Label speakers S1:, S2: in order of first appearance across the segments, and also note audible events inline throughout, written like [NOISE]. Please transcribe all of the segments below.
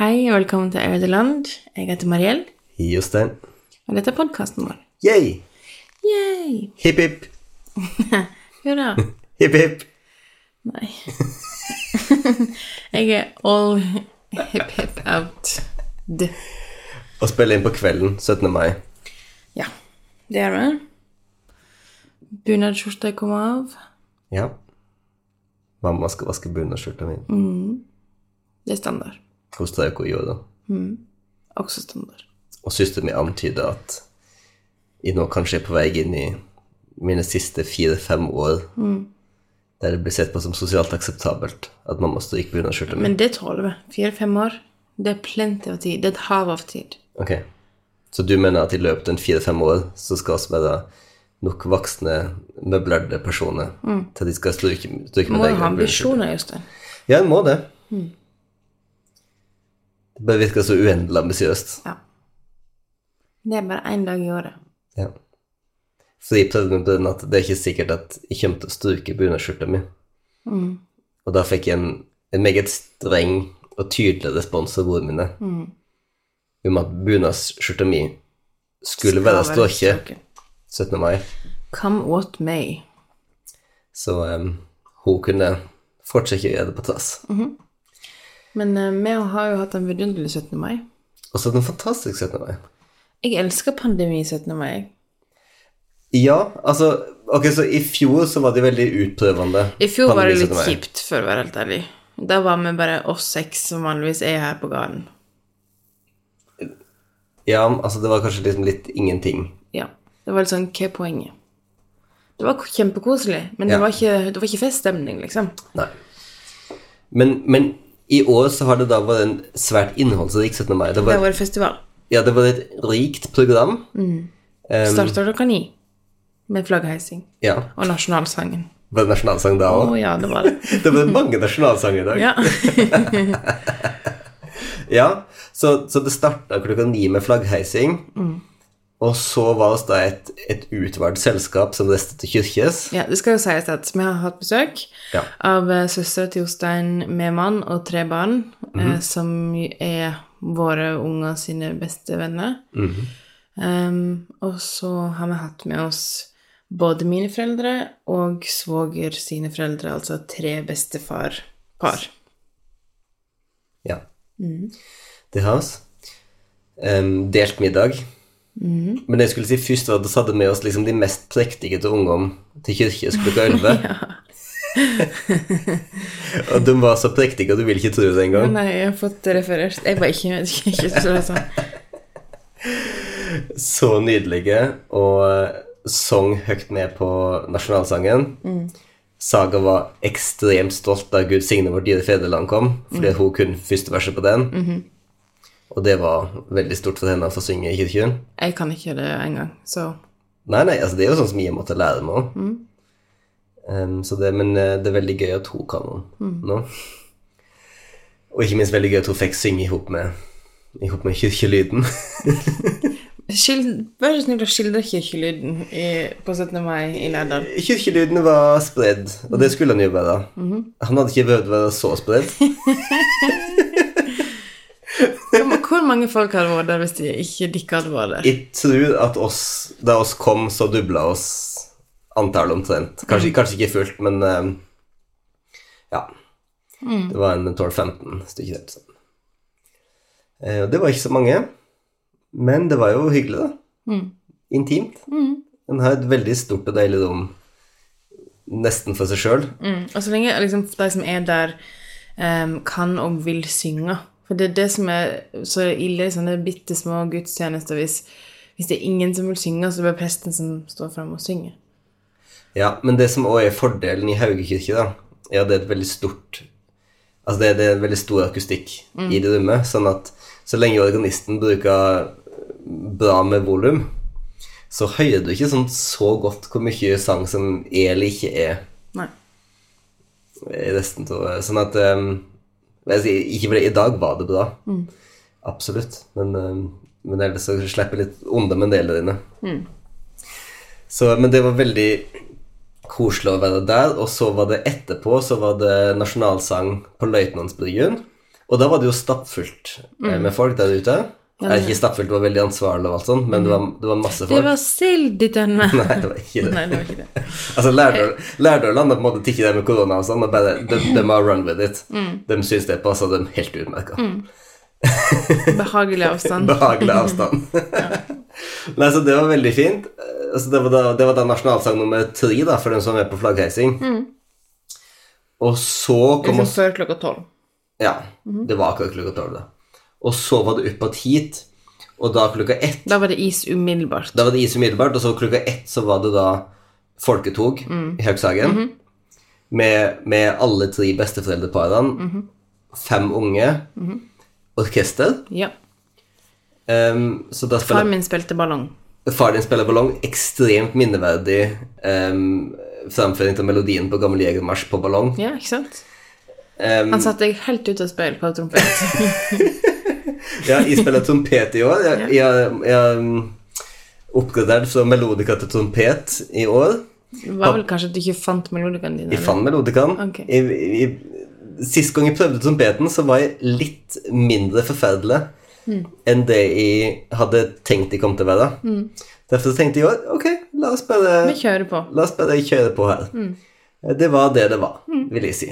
S1: Hei og velkommen til Ødeland. Jeg heter Mariell,
S2: Jostein.
S1: og dette er podkasten vår.
S2: Yay!
S1: Yay!
S2: Hipp, hipp. [LAUGHS]
S1: Hurra.
S2: Hipp, hipp.
S1: Nei. Jeg er all hip hip out. Du.
S2: Og spille inn på kvelden 17. mai.
S1: Ja, det er vi. Bunadsskjorta kommer av.
S2: Ja. Mamma skal vaske bunadsskjorta mi.
S1: Det er standard.
S2: Hos deg og Yoda.
S1: Også standard.
S2: Og søsteren min antyder at jeg nå kanskje er på vei inn i mine siste fire-fem år der det blir sett på som sosialt akseptabelt at mamma stryker bunadsskjorta mi.
S1: Men det tåler vi. Fire-fem år. Det er plenty av tid. Det er et hav av tid.
S2: Ok. Så du mener at i løpet av en fire-fem år så skal oss være nok voksne, møblerte personer til at de skal stryke, stryke med
S1: Må
S2: deg?
S1: jo ha
S2: med bunadsskjorta?
S1: ambisjoner, Jostein.
S2: Ja, en må det. Det bare virker så uendelig ambisiøst.
S1: Ja. Det er bare én dag i året.
S2: Ja. Så jeg prøvde med den at det er ikke sikkert at jeg kommer til å stryke bunadsskjorta mi. Og da fikk jeg en, en meget streng og tydelig respons av ordene mine om at bunadsskjorta mi skulle være strøke 17. mai,
S1: Come what may.
S2: så em, hun kunne fortsette å gjøre det på trass.
S1: Men eh, vi har jo hatt en vidunderlig 17. mai.
S2: Og så den fantastiske 17. mai.
S1: Jeg elsker pandemi 17. mai.
S2: Ja, altså Ok, så i fjor så var det veldig utprøvende.
S1: I fjor var det
S2: pandemi
S1: litt
S2: 17. mai.
S1: kjipt, for å være helt ærlig. Da var vi bare oss seks som vanligvis er her på gården.
S2: Ja, altså det var kanskje liksom litt ingenting.
S1: Ja. Det var litt sånn Hva er poenget? Det var kjempekoselig, men det,
S2: Ja.
S1: var ikke, det var ikke feststemning, liksom.
S2: Nei. Men, men i år så har det da vært en svært innholdsrik 17. mai. Det
S1: Det
S2: var,
S1: var festival.
S2: ja, det var et rikt program. Em,
S1: Starta klokka ni med flaggheising
S2: ja.
S1: og nasjonalsangen.
S2: Var det nasjonalsang da
S1: Å
S2: òg?
S1: ja, det var det.
S2: Det var mange nasjonalsanger i dag.
S1: Ja.
S2: [LAUGHS] Ja, så, så det starta klokka ni med flaggheising.
S1: Mm.
S2: Og så var oss da et, et utvalgt selskap som reiste til kirkes.
S1: Ja, det skal jo sies at vi har hatt besøk
S2: Ja.
S1: av søstera til Jostein med mann og tre barn, eh, som er våre unger sine beste venner. Em, og så har vi hatt med oss både mine foreldre og svoger sine foreldre, altså tre bestefarpar.
S2: Ja. Det har oss. Ehm, delt middag. Men det jeg skulle si først var at vi hadde med oss liksom de mest prektige til ungdom til kirkes klokka 11. [LAUGHS] og de var så prektige at du vil ikke tro det engang.
S1: Nei, jeg har fått det referert. Jeg var ikke, [LAUGHS] ikke, ikke så sånn.
S2: Så nydelige og eh, sang høyt med på nasjonalsangen. Saga var ekstremt stolt da Gud signe vårt dyre fedreland kom, fordi hun kunne første verset på den. Og det var veldig stort for henne å få synge i kirken.
S1: Jeg kan ikke det engang, så
S2: Nei, nei, altså det er jo sånn som jeg måtte lære meg òg. så det, men eh, det er veldig gøy at hun kan den nå. Og ikke minst veldig gøy at hun fikk synge ihop med, ihop med kirkelyden. [LAUGHS]
S1: Skild, Vær så snill å skildre kirkelyden i, på 17. mai i Lærdal.
S2: Kirkelydene var spredd, og det skulle han jo være. Han hadde ikke prøvd å være så spredd.
S1: Hvor- Hvor mange folk hadde vært der hvis de ikke dere hadde vært der?
S2: Jeg tror at oss, da oss kom, så dubla oss antallet omtrent. Kanskje, kanskje ikke fullt, men eh, ja. Det var en 12-15 stykker rett. Sånn. Eh, og det var ikke så mange, men det var jo hyggelig, da. Intimt. En har et veldig stort og deilig rom nesten for seg sjøl.
S1: Mm. Og så lenge liksom, de som er der, em, kan og vil synge. For det er det som er så ille i sånne bitte små gudstjenester. Hvis, hvis det er ingen som vil synge, så blir presten som står fram og synger.
S2: Ja, men det som også er fordelen i Haugekirke, da, er at det er et veldig stort Altså det, det er veldig stor akustikk i det rommet, sånn at så lenge organisten bruker bra med volum, så hører du ikke sånn så godt hvor mye sang som er eller ikke er
S1: Nei.
S2: i resten av Sånn at ehm, jeg sier, Ikke fordi i dag var det bra. Absolutt. Men, ehm, men ellers så slipper jeg litt unna med en del av dine. Så, men det var veldig koselig å være der. Og så var det etterpå så var det nasjonalsang på Løytnantsbryggen. Og da var det jo stappfullt eh, med folk der ute. Eh, ikke stappfullt, det var veldig ansvarlig, og alt sånt, men det var, det var masse folk.
S1: Det var sild i tønne.
S2: Nei, [LAUGHS] det var ikke det.
S1: Nei, det var ikke det.
S2: Altså, Lærdal Lærdal har på en måte tikket det med korona og sånn, og bare de, de har run with it. De syns det passer dem helt utmerka.
S1: Behagelig avstand.
S2: [LAUGHS]
S1: Liksom
S2: Behagelig avstand. Nei, så det var veldig fint. Eh, Altså, det, var da, det var da nasjonalsang nummer tre da, for dem som er med på flaggheising. Og så kom
S1: Liksom
S2: oss
S1: før klokka tolv.
S2: Ja, det var akkurat klokka tolv, da. Og så var det opp hit, og da klokka ett
S1: Da var det is umiddelbart.
S2: Da var det is umiddelbart, og så klokka ett så var det da folketog i Høgshagen. med, med alle tre besteforeldreparene. Fem unge. Orkester.
S1: Ja.
S2: Ehm, så da
S1: Far
S2: spiller
S1: min spilte ballong.
S2: Far din spiller ballong. Ekstremt minneverdig ehm, framføring av melodien på Gammel jegermarsj på ballong.
S1: Ja, ikke sant?
S2: Ehm,
S1: Han satte deg helt ut av speil på trompet.
S2: Ja, jeg spiller trompet i år. Jeg, jeg, jeg um, oppgradert fra melodika til trompet i år.
S1: Det var vel kanskje at du ikke fant melodikaen din?
S2: Jeg fant melodikaen.
S1: Ok.
S2: Jeg, jeg, sist gang jeg prøvde trompeten, så var jeg litt mindre forferdelig
S1: Hmm.
S2: enn det jeg hadde tenkt jeg kom til å være.
S1: Hmm.
S2: Derfor så tenkte jeg i år ok, la oss bare,
S1: Vi kjører på.
S2: la oss bare kjøre på her.
S1: Hmm.
S2: Det var det det var, vil jeg si.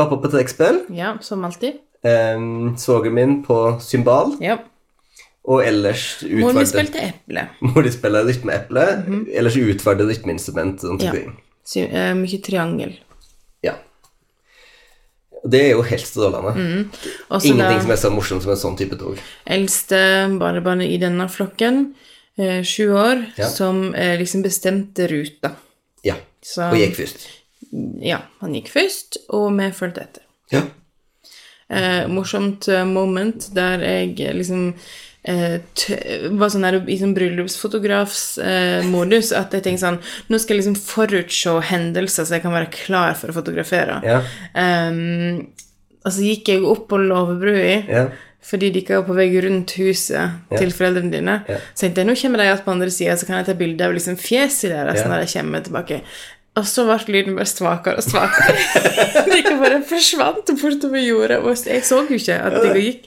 S2: Pappa på trekkspill,
S1: Ja, som alltid.
S2: um, svogeren min på cymbal,
S1: Ja.
S2: og ellers
S1: Mor mi
S2: [LAUGHS] utvalgte
S1: spilte eple.
S2: Hvor de spiller rytmeeple, ellers utvalgte rytmeinstrument
S1: Mhm.
S2: rundt
S1: Ja.
S2: omkring.
S1: Sy eh, mye triangel.
S2: Ja. Det er jo helt
S1: Hmm.
S2: strålende.
S1: Også
S2: Ingenting
S1: det
S2: som er så morsomt som en sånn type tog.
S1: eldste barnebarnet i denne flokken, eh, sju år,
S2: Ja.
S1: som eh, liksom bestemte ruta.
S2: Ja.
S1: Så
S2: Og gikk først.
S1: ja, han gikk først, og vi fulgte etter.
S2: Ja.
S1: eh, morsomt eh, moment der jeg eh, liksom eh, t var sånn her i sånn bryllupsfotografs eh, modus at jeg tenkte sånn Nå skal jeg liksom forutse hendelser, så jeg kan være klar for å fotografere.
S2: Ja.
S1: Ehm, og så gikk jeg opp på Låvebrua.
S2: Ja.
S1: Fordi de ikke var på vei rundt huset til foreldrene dine. Så tenkte jeg nå kommer de igjen på andre sida, så kan jeg ta bilde av liksom fjeset deres
S2: Ja.
S1: når de kommer tilbake. Og så ble lyden bare svakere og svakere. [LAUGHS] de bare forsvant bortover jordet, og jeg så jo ikke at de gikk.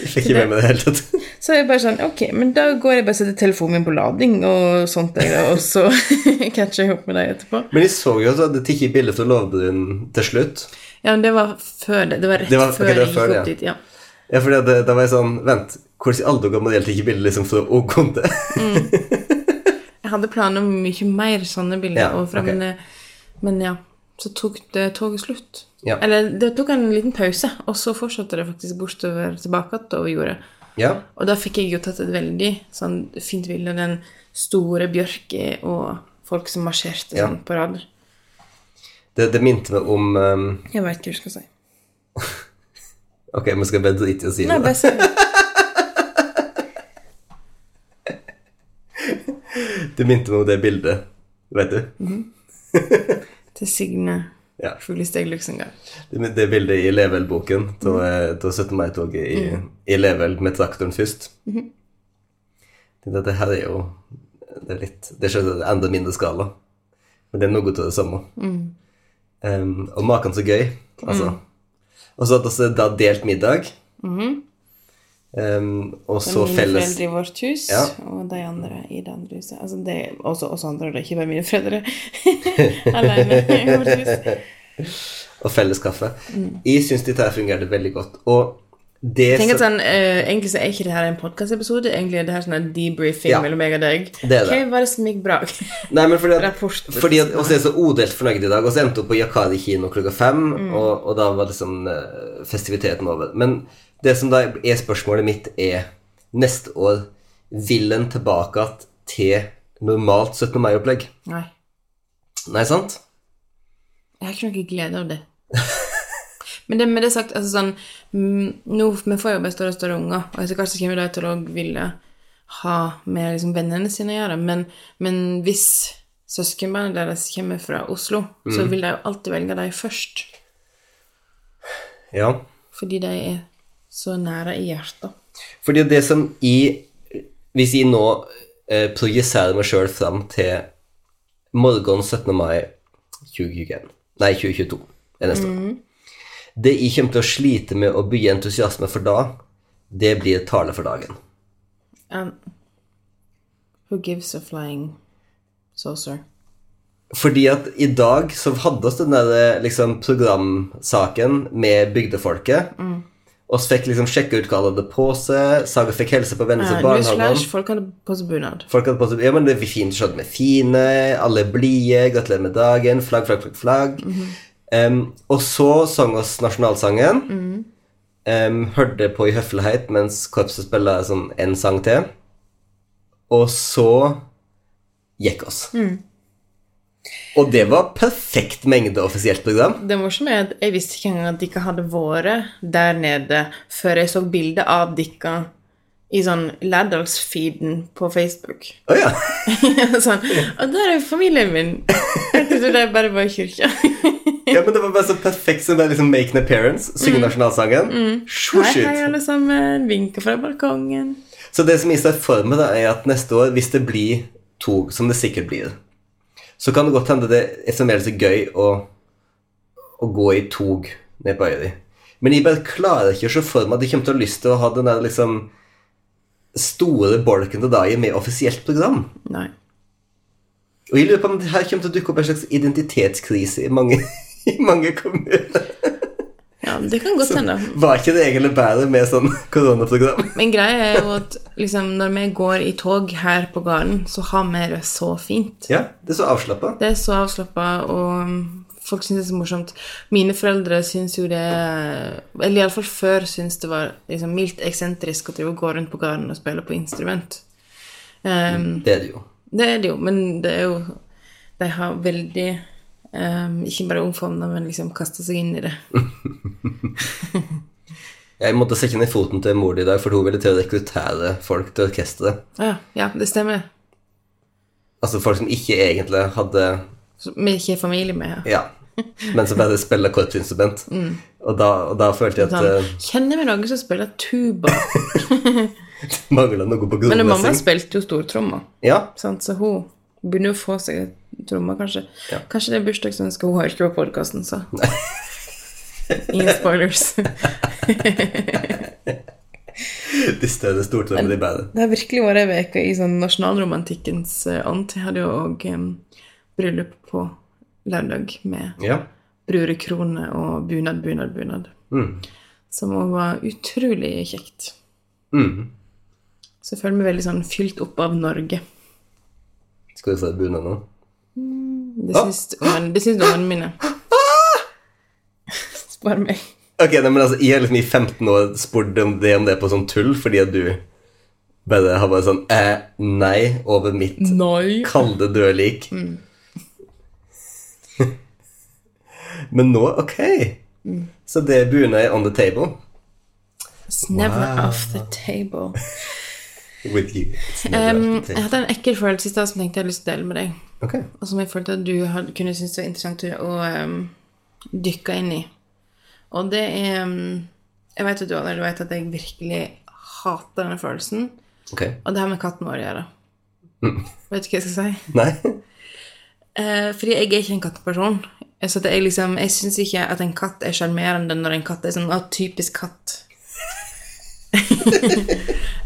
S2: Jeg fikk ikke med meg det hele [LAUGHS] tatt.
S1: Så jeg bare sånn Ok, men da går jeg bare og setter telefonen min på lading og sånt, jeg, da, og så [LAUGHS] catcher jeg opp med deg etterpå.
S2: Men jeg så jo at det tikket bilder fra Lovbrun til slutt.
S1: Ja, men det var før det. Det var rett
S2: Det var- ok,
S1: før
S2: det var
S1: jeg gikk
S2: før,
S1: opp
S2: ja.
S1: dit. ja.
S2: Ja, for det, da var jeg sånn Vent, hvordan i alle dager må det hele tikket bilder liksom fra Okonte?
S1: Jeg hadde planer om mye mer sånne bilder
S2: Ja,
S1: overfra,
S2: ok.
S1: men, eh, men ja. Så tok det toget slutt.
S2: Ja.
S1: Eller det tok en liten pause, og så fortsatte det faktisk bortover tilbake igjen over jordet.
S2: Ja.
S1: Og da fikk jeg jo tatt et veldig sånn fint bilde av den store bjørka og folk som marsjerte
S2: Ja.
S1: sånn på rad.
S2: [LAUGHS] Det, det minte meg om ehm,
S1: Jeg veit ikke hva du skal si.
S2: Ok, men skal jeg bare drite i å si
S1: Nei,
S2: det? da?
S1: bare si det.
S2: Det minte meg om det bildet. Vet du?
S1: Til Signe
S2: Ja.
S1: Fuglesteg Luxembourg.
S2: Det, men det bildet i Level-boken,
S1: Mm.
S2: da da 17. mai-toget i, i Level med traktoren først.
S1: Mhm.
S2: Det, det her er jo Det er litt Det skjer i enda mindre skala, men det er noe av det samme.
S1: Mm.
S2: Em, og maken så gøy, altså. Og så hadde vi da delt middag. Em, og så
S1: Mhm. mine
S2: felles
S1: foreldre i vårt hus,
S2: Ja.
S1: og de andre i det andre huset. Altså det, også oss andre, det er ikke bare mine
S2: [LAUGHS]
S1: foreldre. Alene i vårt hus.
S2: og felles kaffe. Jeg syns dette her fungerte veldig godt. Og det
S1: Mm. Tenk at
S2: som-
S1: sånn, eh, Egentlig så er ikke det her en podkastepisode, egentlig er det her sånn en debriefing
S2: Ja.
S1: mellom meg og deg.
S2: Det er det.
S1: Hva var det som gikk bra? [LAUGHS]
S2: Nei, men fordi at,
S1: Rapport.
S2: fordi at oss er så odelt fornøyd i dag. Vi endte opp på Yakari kino klokka fem, og, og da var liksom eh, festiviteten over. Men det som da er spørsmålet mitt, er neste år vil en tilbake att til normalt 17. mai-opplegg?
S1: Nei,
S2: Nei, sant?
S1: jeg har ikke noe glede av det. Men det, med det sagt, altså sånn mm, nå, Vi får jo bare større og større unger, og etter hvert så kommer de til å ville ha med liksom, vennene sine å gjøre. Men, men hvis søskenbarna deres kommer fra Oslo, så vil de jo alltid velge dem først.
S2: Ja.
S1: Fordi de er så nære i hjertet.
S2: Fordi det som jeg Hvis jeg nå eh, projiserer meg sjøl fram til morgenen 17. mai 2021 Nei, 2022 er neste år. Det jeg kommer til å slite med å bygge entusiasme for da, det blir tale for dagen.
S1: And who gives a flying saucer?
S2: Fordi at i dag så hadde oss den der liksom, programsaken med bygdefolket. Og så fikk liksom sjekke ut hva alle hadde på seg. Saga fikk helse på venner til
S1: Eh, Nå
S2: barnehagen.
S1: slash folk hadde på seg bunad.
S2: Folk hadde på seg, ja, men det er fint, skjønt med fine, alle er blide, gratulerer med dagen, flagg, flagg, flagg, flagg.
S1: Mhm.
S2: Em, og så sang oss nasjonalsangen. Em, hørte på i høflighet mens korpset spilte sånn en sang til. Og så gikk oss.
S1: Mm.
S2: Og det var perfekt mengde offisielt program.
S1: Det morsomme er at jeg visste ikke engang at dere hadde vært der nede før jeg så bilde av dere i sånn Lærdalsfeeden på Facebook. [LAUGHS]
S2: Å ja.
S1: sånn, og der er familien min! Jeg trodde de bare var i [LAUGHS] kirka.
S2: ja! Men det var bare så perfekt som bare liksom make an appearance, synge nasjonalsangen.
S1: Hei,
S2: Swoosh ut.
S1: Mm. hei, alle sammen. Vinker fra balkongen.
S2: Så det som jeg ser for meg, da, er at neste år, hvis det blir tog, som det sikkert blir, så kan det godt hende det er fremdeles gøy å, å gå i tog ned på Øyri. Men jeg bare klarer ikke å se for meg at jeg kommer til å ha lyst til å ha den der liksom store bolken til dagen med offisielt program.
S1: Nei.
S2: Og jeg lurer på om det her kommer til å dukke opp en slags identitetskrise i mange, [LAUGHS] i mange kommuner.
S1: Ja, det kan godt hende.
S2: Var ikke det egentlig bedre med sånn koronaprogram?
S1: Men greia er jo at liksom, når vi går i tog her på gården, så har vi det så fint.
S2: Ja, det er så avslappa.
S1: Det er så avslappa, og um, folk syns det er så morsomt. Mine foreldre syns jo det Eller iallfall før syns det var liksom, mildt eksentrisk å drive og gå rundt på gården og spille på instrument. Um,
S2: Det er det jo.
S1: det er det jo, men det er jo De har veldig um, Ikke bare omfavna, men liksom kasta seg inn i det.
S2: Jeg måtte sette ned foten til mor i dag, for hun ville til å rekruttere folk til orkesteret.
S1: Ja, Ah, ja det stemmer.
S2: Altså folk som ikke egentlig hadde
S1: Så Vi er ikke familie med her.
S2: Ja. Men som bare spiller korpsinstrument. Og, da, og da følte jeg at
S1: Sånn,
S2: eh,
S1: Kjenner vi noen som spiller tuba?
S2: det mangla eh, noe på
S1: Men mamma
S2: grunnmessing.
S1: spilte jo stortromma,
S2: Ja.
S1: sant? så hun begynner å få seg tromma, kanskje.
S2: Ja.
S1: Kanskje det er bursdagsønsket hun har ikke på podkasten, så [LAUGHS] Ingen
S2: [LAUGHS]
S1: spoilers. Det
S2: De større stortrommene, de bedre.
S1: har virkelig vært ei uke i sånn nasjonalromantikkens eh, ånd. Jeg hadde jo òg eh, bryllup på lørdag med
S2: Ja.
S1: brudekrone og bunad, bunad, bunad.
S2: Mm.
S1: Som òg var utrolig kjekt.
S2: Mm.
S1: Så jeg føler meg veldig sånn fylt opp av Norge.
S2: Skal du få et bunad nå?
S1: Det
S2: Ah.
S1: syns ungene det syns ungene
S2: [LAUGHS]
S1: mine. [LAUGHS] Spar meg.
S2: Ok, nei, men altså, Jeg har liksom i 15 år spurt om det om det er på sånn tull, fordi at du bare har bare sånn eh, nei over mitt
S1: Nei.
S2: kalde dødlik.
S1: Mm.
S2: [LAUGHS] Men nå, ok.
S1: Mm.
S2: Så det er bunad on the table
S1: It's never off the table.
S2: with you. It's never
S1: Um,
S2: off the
S1: jeg
S2: table.
S1: hadde en ekkel følelse i stad som tenkte jeg hadde lyst til å dele med deg.
S2: Ok.
S1: Og som jeg følte at du hadde, kunne synes det var interessant å um, dykke inn i. Og det er um, Jeg vet at du allerede vet at jeg virkelig hater denne følelsen.
S2: ok.
S1: Og det har med katten vår å gjøre.
S2: Mm.
S1: Vet du hva jeg skal si?
S2: Nei? [LAUGHS]
S1: Eh, fordi jeg er ikke en katteperson. Så det er liksom, jeg syns ikke at en katt er sjarmerende når en katt er sånn ah, typisk katt.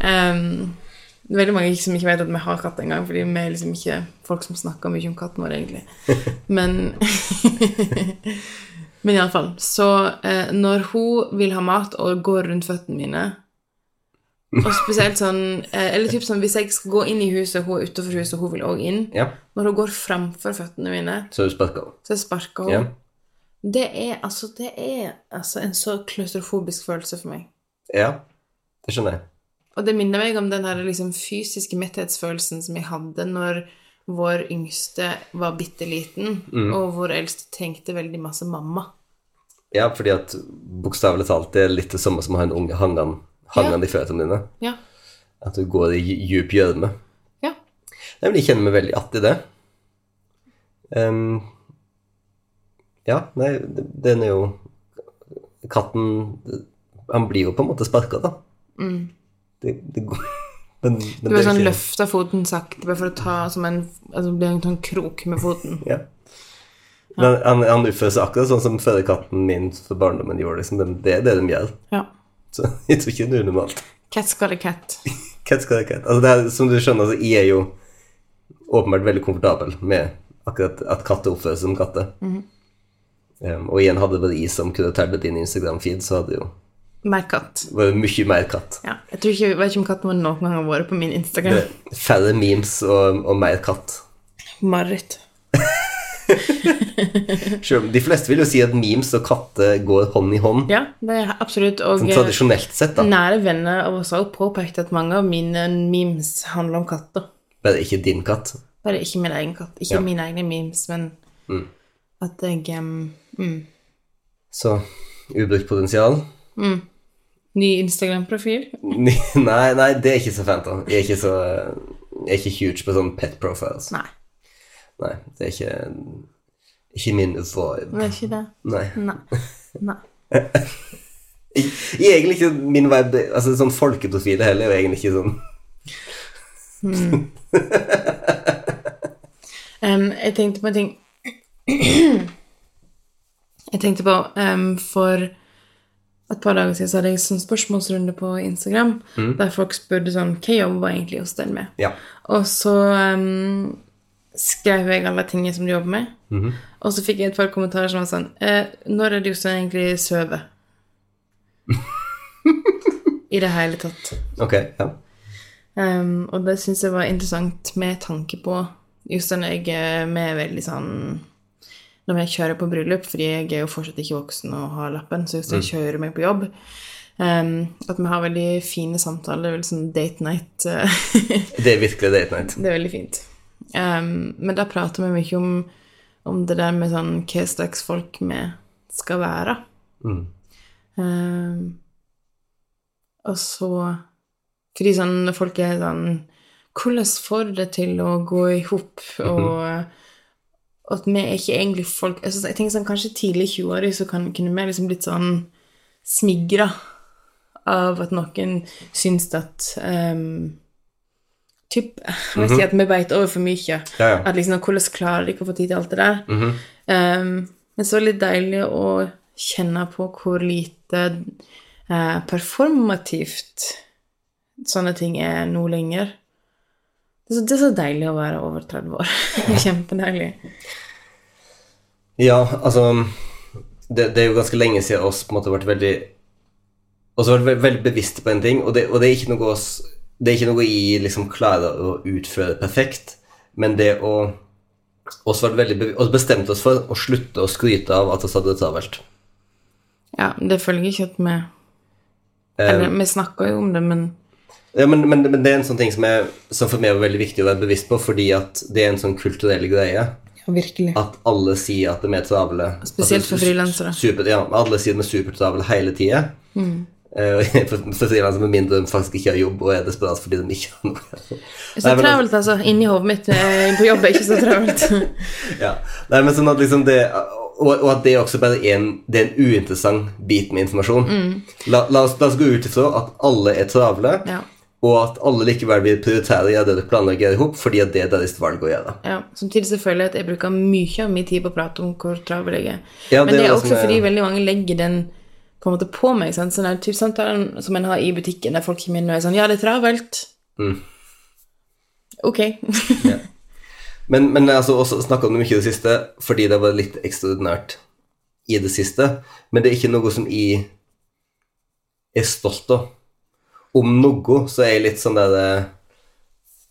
S1: um, det er veldig mange som ikke vet at vi har katt engang, fordi vi er liksom ikke folk som snakker mye om katten vår, egentlig. Men [LAUGHS] Men iallfall. Så eh, når hun vil ha mat og går rundt føttene mine Og spesielt sånn eh, Eller typ sånn hvis jeg skal gå inn i huset, hun er utenfor huset, og hun vil òg inn.
S2: Ja,
S1: Når hun går framfor føttene mine,
S2: så du sparker av.
S1: så sparker hun.
S2: Ja.
S1: Det er, altså, det er altså, en så klaustrofobisk følelse for meg.
S2: ja, det skjønner jeg.
S1: Og det minner meg om den her, liksom, fysiske metthetsfølelsen som jeg hadde når vår
S2: Mm.
S1: yngste var bitte liten, og vår eldste trengte veldig masse mamma.
S2: Ja, fordi at bokstavelig talt det er litt det samme som å ha en unge hangende hangende i føttene dine.
S1: Ja.
S2: At du går i dju- djup gjørme.
S1: Ja.
S2: Nei, men jeg kjenner meg veldig att i det. Ehm, ja, nei, den er jo Katten Han blir jo på en måte sparka, da.
S1: Mm.
S2: Det, det går [LAUGHS] men, men
S1: Du bare
S2: det er
S1: sånn
S2: ikke-
S1: løfta foten sakte, bare for å ta som en altså, det blir en sånn krok med foten.
S2: Ja. Men han, han oppfører seg akkurat sånn som førerkatten min for barndommen gjorde. Liksom. Det, det er det de gjør.
S1: Ja.
S2: Så [LAUGHS] jeg tror ikke det er unormalt.
S1: Cat skal cat.
S2: Cat skal det cat. Altså, det er, som du skjønner, så jeg er jo åpenbart veldig komfortabel med akkurat at katter oppfører seg som katter. Um, og igjen, hadde det vært jeg som kuraterte din Instagram-feed, så hadde det jo
S1: Mer katt.
S2: vært mye mer katt.
S1: Ja. Jeg tror ikke, jeg vet ikke om katten vår noen gang har vært på min Instagram.
S2: Det er Færre memes og, og mer katt.
S1: Mareritt.
S2: Selv om de fleste vil jo si at memes og katter går hånd i hånd,
S1: Ja, det er absolutt. Og
S2: sånn
S1: eh,
S2: tradisjonelt sett, da.
S1: nære venner av oss har også påpekt at mange av mine memes handler om katter.
S2: Men ikke din katt.
S1: Bare ikke min egen katt. Ikke
S2: Ja.
S1: mine egne memes, men at jeg em, mm.
S2: Så ubrukt potensial. [LAUGHS]
S1: Ny Instagram-profil.
S2: Nei, nei, det er ikke så fint, da. Jeg er ikke så Jeg er ikke huge på sånn pet profiles.
S1: Nei,
S2: Nei, det er ikke Ikke min vibe.
S1: det er ikke det.
S2: Nei.
S1: Nei. Nei.
S2: Jeg, jeg er egentlig ikke min vibe Altså sånn folkeprofil heller, er egentlig ikke sånn
S1: Em, jeg tenkte på en ting Jeg tenkte på em, For et par dager siden så hadde jeg sånn spørsmålsrunde på Instagram der folk spurte sånn Hva jobber egentlig hos den med?
S2: Ja.
S1: Og så em, skrev jeg alle tingene som du jobber med. Og så fikk jeg et par kommentarer som var sånn eh, Når er det du som egentlig sover? I det hele tatt.
S2: Ok. Ja.
S1: Ehm, og det syns jeg var interessant med tanke på just den jeg er med veldig sånn Når jeg kjører på bryllup, fordi jeg er jo fortsatt ikke voksen og har lappen, så just jeg kjører meg på jobb ehm, At vi har veldig fine samtaler, veldig sånn date night. eh,
S2: Det er virkelig date night.
S1: det er veldig fint. Ehm, men da prater vi mye om, om det der med sånn hva slags folk vi skal være.
S2: Mm.
S1: Ehm, og så Fordi sånn når folk er sånn Hvordan får du det til å gå i hop?
S2: Mhm.
S1: Og og at vi er ikke egentlig folk jeg, synes, jeg tenker sånn, Kanskje tidlig i 20-åra så kan, kunne vi liksom blitt sånn smigra av at noen syns at ehm, Typ Jeg vet ikke at vi beit over for mye.
S2: Mhm. Ja, ja.
S1: At liksom, Hvordan klarer de ikke å få tid til alt det der?
S2: Mhm.
S1: Um, men så er det litt deilig å kjenne på hvor lite eh, performativt sånne ting er nå lenger. Det er, så, det er så deilig å være over 30 år. [LAUGHS] Kjempedeilig.
S2: ja, altså det, det er jo ganske lenge siden oss på en måte har vært veldig Og så har vært veldig bevisste på en ting, og det, og det er ikke noe oss Det er ikke noe jeg liksom klarer å utføre perfekt, men det å oss vært veldig bevi- oss bestemte oss for å slutte å skryte av at vi hadde det travelt.
S1: Ja, det følger ikke at vi
S2: Eh,
S1: Eller, vi snakker jo om det, men
S2: Ja, men, men, men det er en sånn ting som, er, som for meg var veldig viktig å være bevisst på, fordi at det er en sånn kulturell greie
S1: ja, virkelig.
S2: at alle sier at de er travle.
S1: Spesielt for
S2: Altså,
S1: frilansere. Mm.
S2: Super, ja, alle sier de er supertravle hele tida. [LAUGHS] for for frilansere med mindre de faktisk ikke har jobb og er desperat fordi de ikke har noe.
S1: Det er så
S2: Nei, men
S1: travelt, altså. Inni hodet mitt eh, på jobb er ikke så travelt.
S2: [LAUGHS] Ja. Nei, men sånn at liksom det og, og at det også bare er en, det er en uinteressant bit med informasjon. La, la, oss, la oss gå ut ifra at alle er travle,
S1: Ja.
S2: og at alle likevel vil prioritere å gjøre det de planlegger i hop, fordi at det er deres valg å gjøre.
S1: Ja, samtidig så føler jeg at jeg bruker mye av min tid på å prate om hvor travel jeg er.
S2: Ja, det
S1: Men
S2: er
S1: det er
S2: det som
S1: også
S2: er-
S1: fordi veldig mange legger den på en måte på meg. Sant? Sånn der typ samtalen som en har i butikken, der folk kommer inn og er sånn Ja, det er travelt.
S2: Mm.
S1: Ok.
S2: Men, men altså, også snakka om det mye i det siste, fordi det var litt ekstraordinært i det siste. Men det er ikke noe som jeg er stolt av. Om noe så er jeg litt sånn der eh,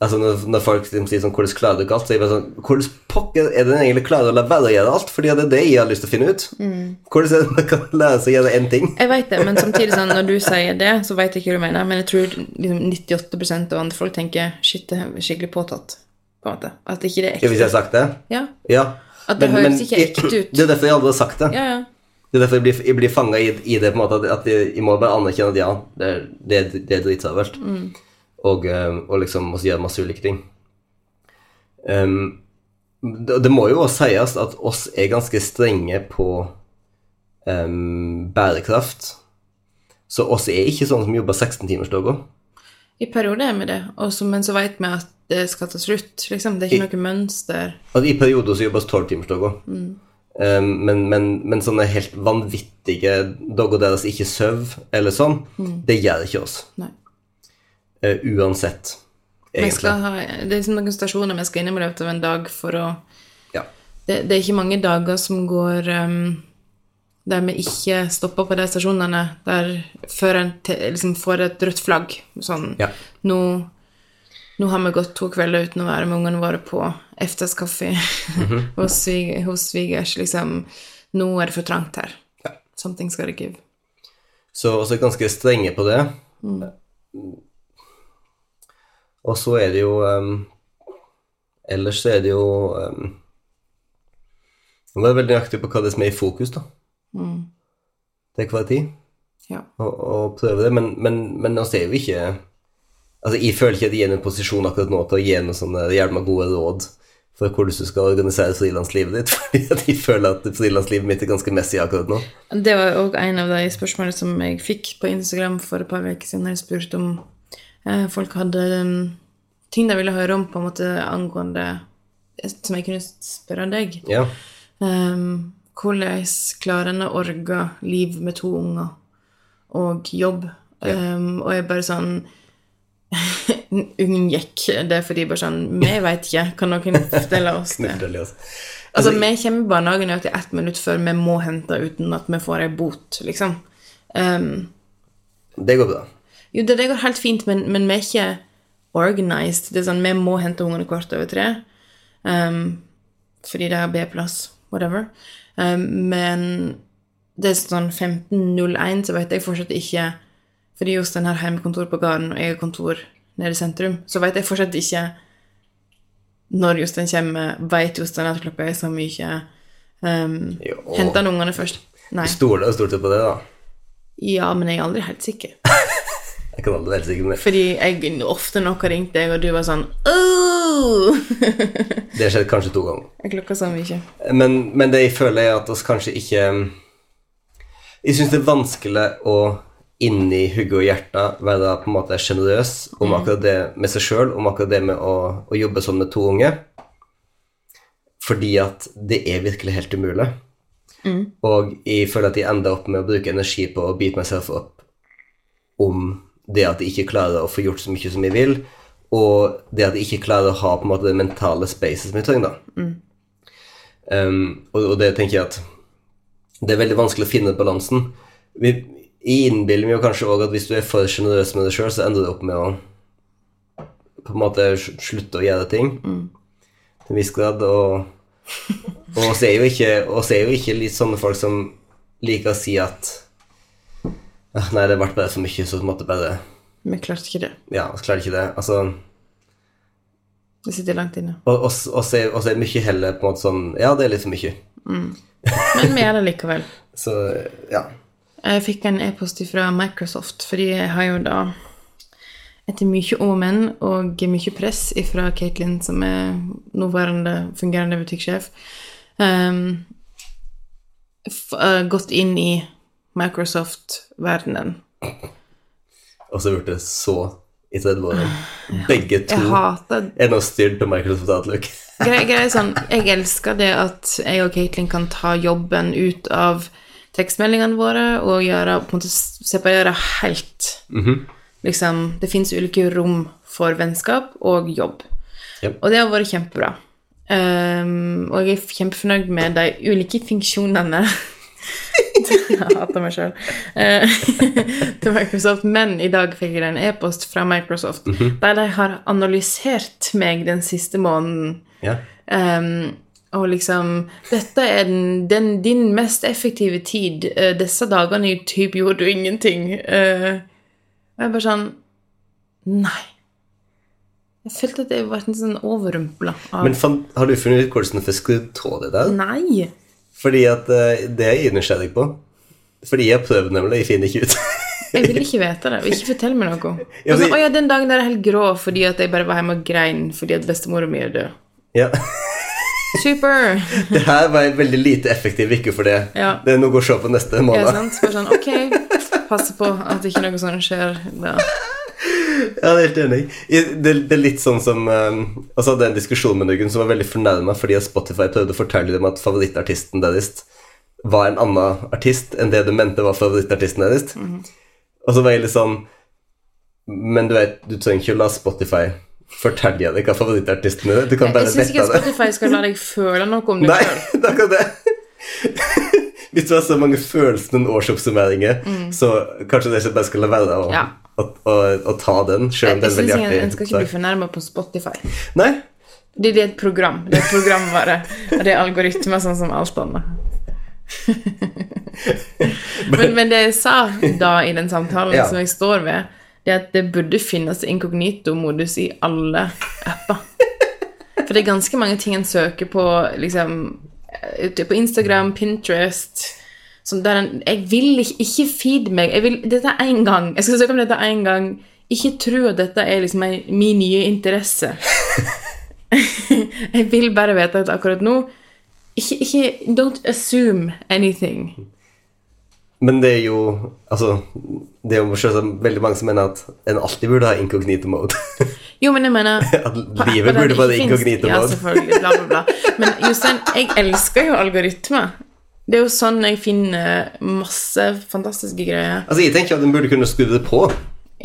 S2: Altså når, når folk liksom sier sånn 'Hvordan klarer du ikke alt?' så er jeg bare sånn Hvordan pokker er det en egentlig klarer å la være å gjøre alt? Fordi det er det jeg har lyst til å finne ut.
S1: Mm.
S2: Hvordan er det man kan lære seg å gjøre én ting?
S1: Jeg veit det, men samtidig sånn når du sier det, så veit jeg ikke hva du mener. Men jeg tror liksom 98 av andre folk tenker shit, det er skikkelig påtatt. På en måte. At ikke det er
S2: Hvis sånn. jeg
S1: ekte.
S2: har sagt det?
S1: Ja.
S2: Ja.
S1: At det høres ikke ekte ut.
S2: Det er derfor jeg aldri har sagt det.
S1: Ja, ja.
S2: Det er derfor jeg blir, jeg blir fanga i, i det, på en måte, at- at jeg, jeg må bare anerkjenne at ja, det er, det er, det er dritsavelt. Og, eh, og liksom også gjøre masse ulike ting. Ehm, det, det må jo også sies at oss er ganske strenge på ehm, bærekraft. Så oss er ikke sånn som jobber 16-timersdager.
S1: I perioder er vi det, og så- men så vet vi at det skal ta slutt. Liksom. Det er ikke noe mønster.
S2: Altså, I perioder så jobbes 12-timersdager. Um, men, men, men sånne helt vanvittige dager deres ikke sover, eller sånn, det gjør ikke oss.
S1: Nei.
S2: Eh, uansett,
S1: Vi
S2: egentlig.
S1: skal ha, det er liksom noen stasjoner vi skal inn i løpet av en dag for å
S2: Ja.
S1: det, det er ikke mange dager som går ehm, der vi ikke stopper på de stasjonene der før en te, liksom får et rødt flagg. Sånn
S2: Ja.
S1: nå, nå har vi gått to kvelder uten å være med ungene våre på efterskaffe [LAUGHS] hos, svig, hos svigers. Liksom, nå er det for trangt her. Something skal det give.
S2: Så også ganske strenge på det. Og så er det jo ehm, Ellers så er det jo um, Man er veldig nøyaktig på hva det er som er i fokus, da. Til hver tid.
S1: Ja.
S2: Å å prøve det, men, men, men altså, det er jo ikke Altså, jeg føler ikke at jeg er i en posisjon akkurat nå til å gi noen sånne jævla gode råd for hvordan du skal organisere frilanslivet ditt, [LAUGHS] fordi at jeg føler at frilanslivet mitt er ganske messig akkurat nå.
S1: Det var òg en av de spørsmålene som jeg fikk på Instagram for et par uker siden. Jeg spurte om eh, folk hadde um, ting de ville høre om på en måte angående eh, Som jeg kunne spørre deg.
S2: Ja.
S1: Um, hvordan klarer en å orge liv med to unger og jobb? Um, og jeg bare sånn [LAUGHS] Ungen gikk. Det er fordi jeg bare sånn Vi veit ikke. Kan noen fortelle
S2: [LAUGHS]
S1: oss det?
S2: Nydelig, altså.
S1: Altså, vi kommer i barnehagen nøyaktig ett minutt før vi må hente uten at vi får ei bot, liksom. Ehm,
S2: Det går bra.
S1: jo, det, det går helt fint, men, men vi er ikke organized. Det er sånn, vi må hente ungene kvart over tre, ehm, fordi det er B-plass, whatever. Ehm, men det er sånn 15.01, så vet jeg fortsatt ikke, fordi Jostein har hjemmekontor på gården, og jeg har kontor nede i sentrum, så vet jeg fortsatt ikke når Jostein kommer, vet Jostein at klokka er så mye. Um,
S2: Jo.
S1: Henter han ungene først? Nei.
S2: Stoler jo stort sett på det, da.
S1: Ja, men jeg er aldri helt sikker.
S2: Jeg kan aldri være helt sikker på det.
S1: Fordi jeg ofte nok har ringt deg, og du var sånn «Åh!»
S2: Det har skjedd kanskje to ganger.
S1: Jeg klokka så mye.
S2: Men, men det jeg føler er at oss kanskje ikke eh, Jeg syns det er vanskelig å inni hodet og hjertet være på en måte sjenerøs om akkurat det med seg sjøl, om akkurat det med å, å jobbe sånn med to unge. Fordi at det er virkelig helt umulig. Og jeg føler at jeg ender opp med å bruke energi på å bite meg selv opp om det at jeg ikke klarer å få gjort så mye som jeg vil, og det at jeg ikke klarer å ha på en måte det mentale spacet som jeg trenger. da. Um, og, og det tenker jeg at det er veldig vanskelig å finne balansen. Vi jeg innbiller meg jo kanskje også at hvis du er for sjenerøs med deg sjøl, så ender du opp med å på en måte sl- slutte å gjøre ting til en viss grad. Og, og oss er jo ikke, oss er jo ikke litt sånne folk som liker å si at «Ah, Nei, det ble bare for mye, så måtte bare
S1: Vi klarte ikke det.
S2: Ja, så klarer jeg ikke det. Altså
S1: Det sitter langt inne.
S2: Og oss oss er, oss er mye heller på en måte sånn Ja, det er litt for mye.
S1: Men vi er det likevel.
S2: Så ja.
S1: Jeg fikk en e-post fra Microsoft, fordi jeg har jo da etter mye om og men og mye press fra Caitlin, som er nåværende fungerende butikksjef, ehm, f- eh, gått inn i Microsoft-verdenen.
S2: Og så ble det så i 30-årene. Begge to
S1: Ah, Jeg hater
S2: er nå styrt på Microsoft
S1: [LAUGHS]
S2: Outlook.
S1: Grei, grei, sånn, jeg elsker det at jeg og Caitlin kan ta jobben ut av tekstmeldingene våre og gjøre, på en måte s- separere helt. liksom, det finnes ulike rom for vennskap og jobb.
S2: Jep.
S1: Og det har vært kjempebra. Ehm, og jeg er kjempefornøyd med de ulike funksjonene [LAUGHS] Jeg hater meg sjøl. [LAUGHS] til Microsoft. Men i dag fikk jeg en e-post fra Microsoft der de har analysert meg den siste måneden.
S2: Ja.
S1: Ehm, og liksom Dette er den, den, din mest effektive tid. Eh, disse dagene i typ gjorde du ingenting. Eh, og jeg bare sånn Nei. Jeg følte at jeg ble sånn overrumpla av Altså,
S2: Men fan, har du funnet ut hvordan du får skrudd av det der?
S1: Nei.
S2: Fordi at eh, det er jeg nysgjerrig på. Fordi jeg har prøvd nemlig, jeg finner ikke ut. [LAUGHS]
S1: Jeg vil ikke vite det. Ikke fortell meg noe.
S2: Ja,
S1: Og
S2: men-
S1: så, å ja, den dagen der er helt grå fordi at jeg bare var hjemme og grein fordi at bestemora mi er død.
S2: ja.
S1: Super!
S2: Det her var en veldig lite effektiv uke for det.
S1: Ja.
S2: Det er noe å se på neste
S1: Ja,
S2: måned.
S1: sant? Bare sånn, ok, passe på at ikke noe sånt skjer da.
S2: Ja, det er helt enig. I- Det, det er litt sånn som um, Altså, det er en diskusjon med noen som var veldig fornærma fordi at Spotify prøvde å fortelle dem at favorittartisten deres var en annen artist enn det du mente var favorittartisten deres.
S1: Mhm.
S2: Og så var jeg litt sånn Men du vet, du trenger ikke å la Spotify fortelle deg hva favorittartisten er. Du kan
S1: Jeg
S2: bare
S1: syns ikke
S2: vette
S1: at
S2: det.
S1: Spotify skal la deg føle noe om det
S2: Nei, [LAUGHS]
S1: selv.
S2: det er akkurat det. [LAUGHS] Hvis du har så mange følelser enn årsoppsummeringer, så kanskje det ikke bare skal la være å,
S1: Mm. Ja.
S2: å, å, å ta den, selv
S1: Jeg
S2: om det er
S1: synes
S2: veldig
S1: ikke-
S2: artig.
S1: En skal ikke bli fornærma på Spotify.
S2: Nei,
S1: Det, det er et program. Det er programvare. Og det er algoritmer, sånn som alt annet. men, men det jeg sa da i den samtalen
S2: Ja.
S1: som jeg står ved, det er at det burde finnes inkognito-modus i alle apper. For det er ganske mange ting en søker på liksom, eh, ute på Instagram, Pinterest sånn der en, Jeg vil ikke, ikke feed meg. Jeg vil, dette er én gang. Jeg skal søke om dette én gang. Ikke tro at dette er liksom en, min nye interesse. Jeg vil bare vite at akkurat nå ikke, ikke, Don't assume anything.
S2: men det er jo Altså, det er jo selvsagt veldig mange som mener at en alltid burde ha incognito mode. [LAUGHS]
S1: Jo, men jeg mener
S2: At livet burde være incognito
S1: Ja,
S2: mode.
S1: selvfølgelig. Bla, bla, bla. Men Jostein, jeg elsker jo algoritmer. Det er jo sånn jeg finner masse fantastiske greier.
S2: Altså, jeg tenker at en burde kunne skru det på.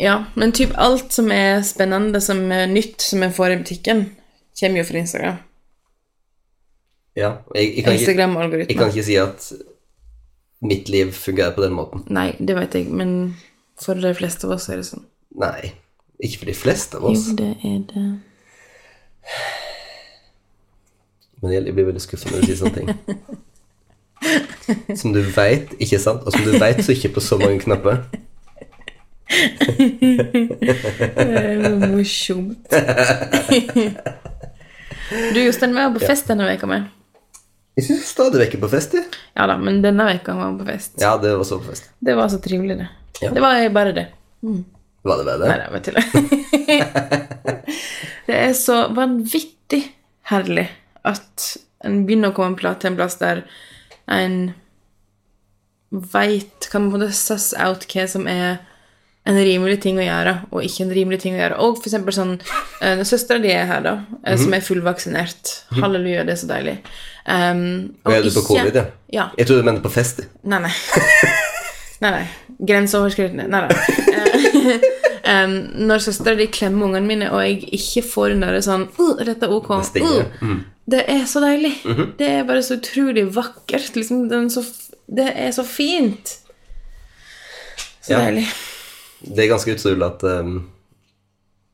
S1: Ja, men typ alt som er spennende, som er nytt, som en får i butikken, kommer jo fra Instagram.
S2: Ja, jeg, jeg, kan ikke, jeg
S1: Instagram-algoritmer.
S2: kan ikke si at mitt liv fungerer på den måten.
S1: Nei, det vet jeg, men for de fleste av oss er det sånn.
S2: Nei, ikke for de fleste av
S1: Jo,
S2: oss.
S1: det er det.
S2: Men jeg blir veldig skuffet når du sier
S1: [LAUGHS]
S2: sånne ting. Som du veit, ikke sant? Og som du veit, så ikke på så mange knapper.
S1: Det er jo morsomt. [LAUGHS] du, Jostein, vi var på fest denne veka med.
S2: Jeg syns stadig vekk er på fest, jeg.
S1: Ja da, men denne veka var vi på fest.
S2: Ja, det var så på fest.
S1: Det var så trivelig, det.
S2: Ja.
S1: Det var bare det.
S2: Var det bedre?
S1: Nei, det var tull.
S2: [LAUGHS]
S1: det er så vanvittig herlig at en begynner å komme en pla- til en plass der en veit Kan på en måte suss out hva som er en rimelig ting å gjøre, og ikke en rimelig ting å gjøre. Og for eksempel sånn eh, Når søstera di er her, da, eh,
S2: Mhm.
S1: som er fullvaksinert Halleluja, det er så deilig. Um,
S2: Og er du på covid, ja?
S1: Ja.
S2: Jeg trodde du mente på fest. jeg.
S1: Nei, nei. nei, nei. Grenseoverskridende. Nei,
S2: [LAUGHS]
S1: nei. Eh, em, når søstera di klemmer ungene mine, og jeg ikke får den derre sånn uh, 'Dette er ok.'
S2: Det Mm. Mhm. stinger.
S1: Uh, det er så deilig. Det er bare så utrolig vakkert. Liksom, den så, f- det er så fint. Så
S2: Ja.
S1: deilig.
S2: Det er ganske utrolig at ehm,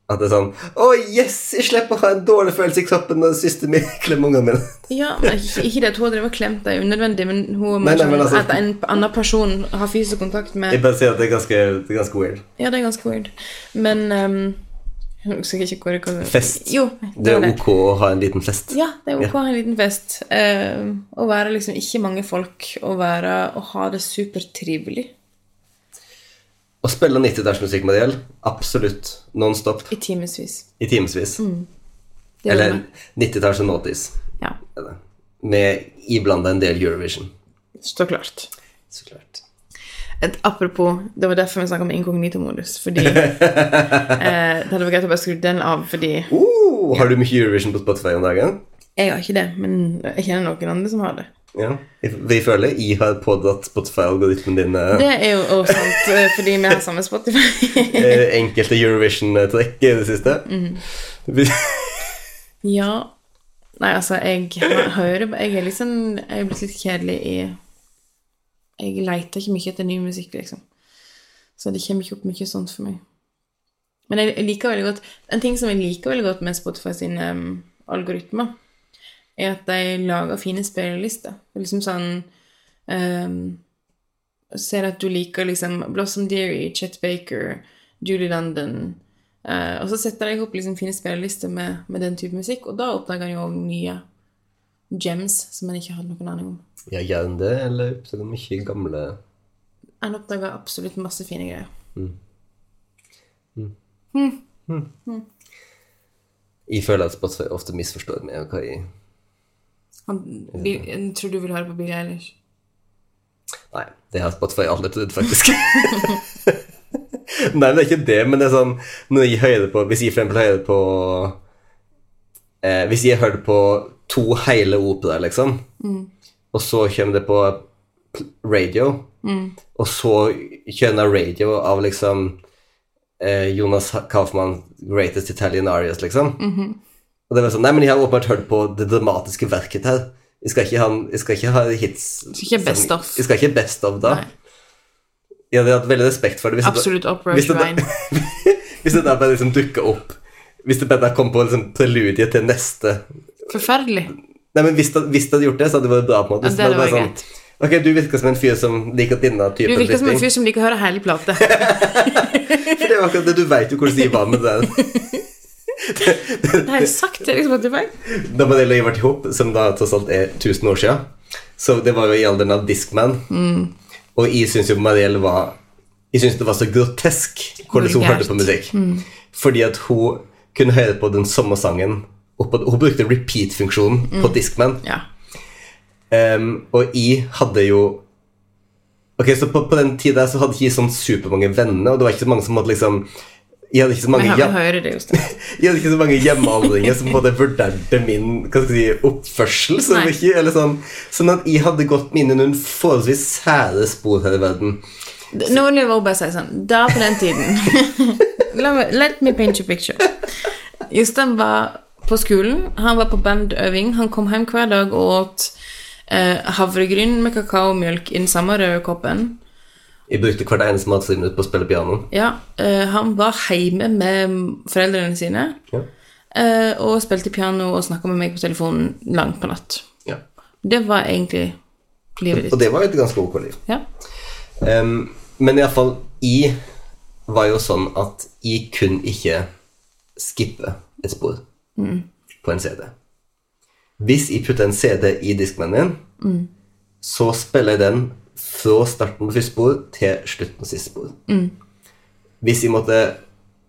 S2: At det er sånn Å, yes! Jeg slipper å ha en dårlig følelse i kroppen når søsteren [LAUGHS] min klemmer ungene mine.
S1: Ja, men ikke, ikke det at hun har drevet og klemt deg unødvendig, men hun
S2: Nei, nei, men altså-
S1: at en annen person har fysisk kontakt med
S2: Jeg bare sier at det er ganske, det er ganske weird.
S1: Ja, det er ganske weird. Men um, Jeg husker ikke hvor jeg kom
S2: Fest.
S1: Jo,
S2: Det
S1: var
S2: er ok å ha en liten fest.
S1: Ja, det er ok å ha en liten fest. Eh, å være liksom ikke mange folk, å være Å ha det supertrivelig
S2: Å spille 90-tallsmusikk med det gjelder, absolutt non stop
S1: i timevis.
S2: i timevis.
S1: Mm, Det gjør
S2: Eller
S1: det.
S2: 90-talls og nåtis.
S1: Ja,
S2: er det. Med iblanda en del Eurovision.
S1: så klart.
S2: Så klart.
S1: Et, apropos, det var derfor vi snakka om inkognito-modus,
S2: [LAUGHS]
S1: fordi eh, Det hadde vært greit å bare skru den av, fordi
S2: Uh, har du mye Eurovision på Spotify om dagen?
S1: jeg har ikke det, men jeg kjenner noen andre som har det.
S2: Ja. Vi føler jeg har pådratt Spotify-algoritmen din eh,
S1: Det er jo også sant, eh, fordi vi har samme Spotify.
S2: [LAUGHS] eh, enkelte Eurovision-trekk i det siste. Vi-
S1: Ja Nei, altså, jeg hø- hører Jeg er liksom Jeg er blitt litt kjedelig i Jeg leter ikke mye etter ny musikk, liksom. Så det kommer ikke opp mye sånt for meg. Men jeg jeg liker veldig godt En ting som jeg liker veldig godt med Spotify sine um, algoritmer, er at de lager fine spillelister. Det er Liksom sånn um, Ser at du liker liksom Blossom Deary, Chet Baker, Julie London Eh, og så setter jeg opp liksom fine spillelister med, med den type musikk, og da oppdager jeg jo nye gems som en ikke hadde noen aning om.
S2: Ja, gjør den det, eller oppdager den mye gamle
S1: En oppdaga absolutt masse fine greier.
S2: Jeg føler at Spotify ofte misforstår meg og hva jeg
S1: Han, Bill, jeg tror du vil høre på Billie Eilish.
S2: Nei, det har Spotify aldri trodd, faktisk. Nei, det er ikke det, men det er sånn når jeg hører på, Hvis jeg for eksempel hører på eh, Hvis jeg hører på to hele operaer, liksom,
S1: Mm.
S2: og så kommer det på radio,
S1: Mm.
S2: og så kjører jeg radio av liksom eh, Jonas Kaufmann, 'Greatest Italian Arias', liksom.
S1: Mm-hmm.
S2: Og det var sånn Nei, men jeg har åpenbart hørt på det dramatiske verket her. Jeg skal ikke ha, jeg skal ikke ha hits
S1: skal ikke best of.
S2: Jeg skal ikke best of da.
S1: Nei.
S2: Jeg hadde hatt veldig respekt for det hvis det,
S1: Absolutt Opera
S2: hvis det-
S1: Shrine.
S2: hvis det der bare liksom dukket opp Hvis det bare kom på liksom preludiet til neste
S1: Forferdelig.
S2: Nei, men hvis det, hvis det hadde gjort det, så hadde det vært bra på en måte.
S1: Ja,
S2: Hvis
S1: det hadde
S2: bare
S1: vært
S2: sånn, Ok, du virker som en fyr som liker denne
S1: Du
S2: typen
S1: virker som en
S2: lytting.
S1: fyr som liker å høre hele
S2: [LAUGHS]
S1: plata.
S2: For det er jo akkurat det, du vet jo hvordan de var med det
S1: [LAUGHS]
S2: der.
S1: Det har jeg sagt til deg, Spotify.
S2: Da Manel og jeg ble ihop, som da tross alt er 1000 år siden, så det var jo i alderen av Discman.
S1: Mm.
S2: Og jeg syns jo Marielle var Jeg synes det var så grotesk hvordan hun
S1: Vulgært. Mm.
S2: hørte på musikk. Fordi at hun kunne høre på den samme sangen. og på- Hun brukte repeat-funksjonen på
S1: Mm.
S2: Discman.
S1: Ja.
S2: Ehm, og jeg hadde jo Ok, så på, på den tida så hadde jeg ikke sånn supermange venner, og det var ikke så mange som hadde liksom Jeg hadde ikke så mange,
S1: Men
S2: hjem,
S1: han hører det jo snart.
S2: jeg hadde ikke så mange hjemmealdringer som både vurderte min hva skal jeg si, oppførsel. Så
S1: Nei.
S2: ikke, eller sånn, sånn at jeg hadde gått mine noen forholdsvis sære spor her i verden.
S1: Nå vil jeg bare si sånn Da på den tiden La meg- Let me paint you a picture. Jostein var på skolen, han var på bandøving. Han kom hjem hver dag og åt eh, havregryn med kakaomjølk i den samme røde koppen.
S2: Jeg brukte hvert eneste matsiminutt på å spille piano.
S1: Ja, eh, han var hjemme med foreldrene sine
S2: Ja.
S1: eh, og spilte piano og snakka med meg på telefonen langt på natt.
S2: Ja.
S1: Det var egentlig livet
S2: Og
S1: ditt.
S2: det var jo et ganske ok liv.
S1: Ja.
S2: Um, men iallfall, jeg var jo sånn at jeg kun ikke skippe et spor på en CD. Hvis jeg putter en CD i diskmannen min, så spiller jeg den fra starten på første spor til slutten på siste spor. Hvis jeg måtte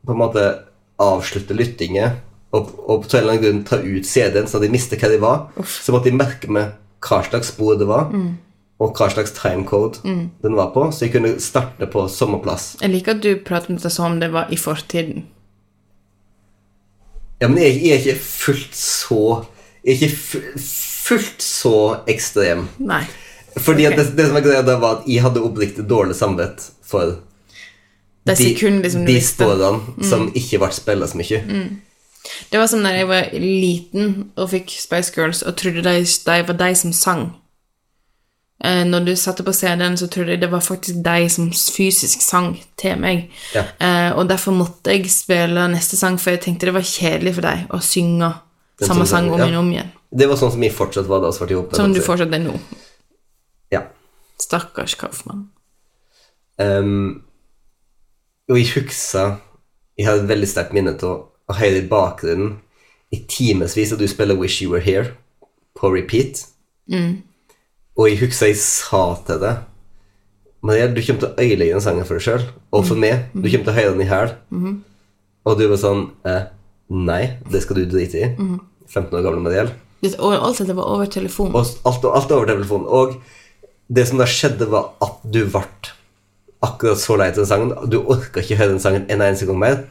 S2: på en måte avslutte lyttinget og, og på en eller annen grunn ta ut CD-en så de mister hva de var, så måtte jeg merke meg hva slags spor det var,
S1: Mm.
S2: og hva slags timecode den var på, så jeg kunne starte på samme plass.
S1: Jeg liker at du prater om dette som om det var i fortiden.
S2: Ja, men jeg, jeg er ikke fullt så Jeg er ikke fu- fullt så ekstrem.
S1: Nei.
S2: Fordi at
S1: Ok.
S2: det, det som var greia da, var at jeg hadde oppriktig dårlig samvittighet for
S1: Det sekundet som liksom, du
S2: de
S1: visste. Mm.
S2: sporene som ikke ble spilt så mye.
S1: Det var som da jeg var liten og fikk Spice Girls og trodde de, de var de som sang. Eh, når du satte på CD-en, så trodde jeg det var faktisk de som fysisk sang til meg.
S2: Ja.
S1: Eh, og derfor måtte jeg spille neste sang, for jeg tenkte det var kjedelig for deg å synge
S2: Den
S1: samme
S2: som sang,
S1: sang om
S2: ja.
S1: igjen og om igjen.
S2: Det var sånn som jeg fortsatt var da vi ble ihop.
S1: Som du fortsatt er nå.
S2: Ja.
S1: Stakkars Kaufmann.
S2: Ehm, og jeg husker Jeg har et veldig sterkt minne av å høre i bakgrunnen i timevis at du spiller 'Wish You Were Here' på repeat. Og jeg husker jeg sa til deg Maria, du kommer til å øyelegge den sangen for deg sjøl, og for meg. Du kommer til å høre den i hæl. Og du var sånn eh, Nei, det skal du drite i. 15 år gamle Mariell.
S1: Det- Og alt dette var over telefon.
S2: Og alt, alt over telefonen. Og det som da skjedde, var at du ble akkurat så lei til den sangen. Du orka ikke høre den sangen en eneste gang mer.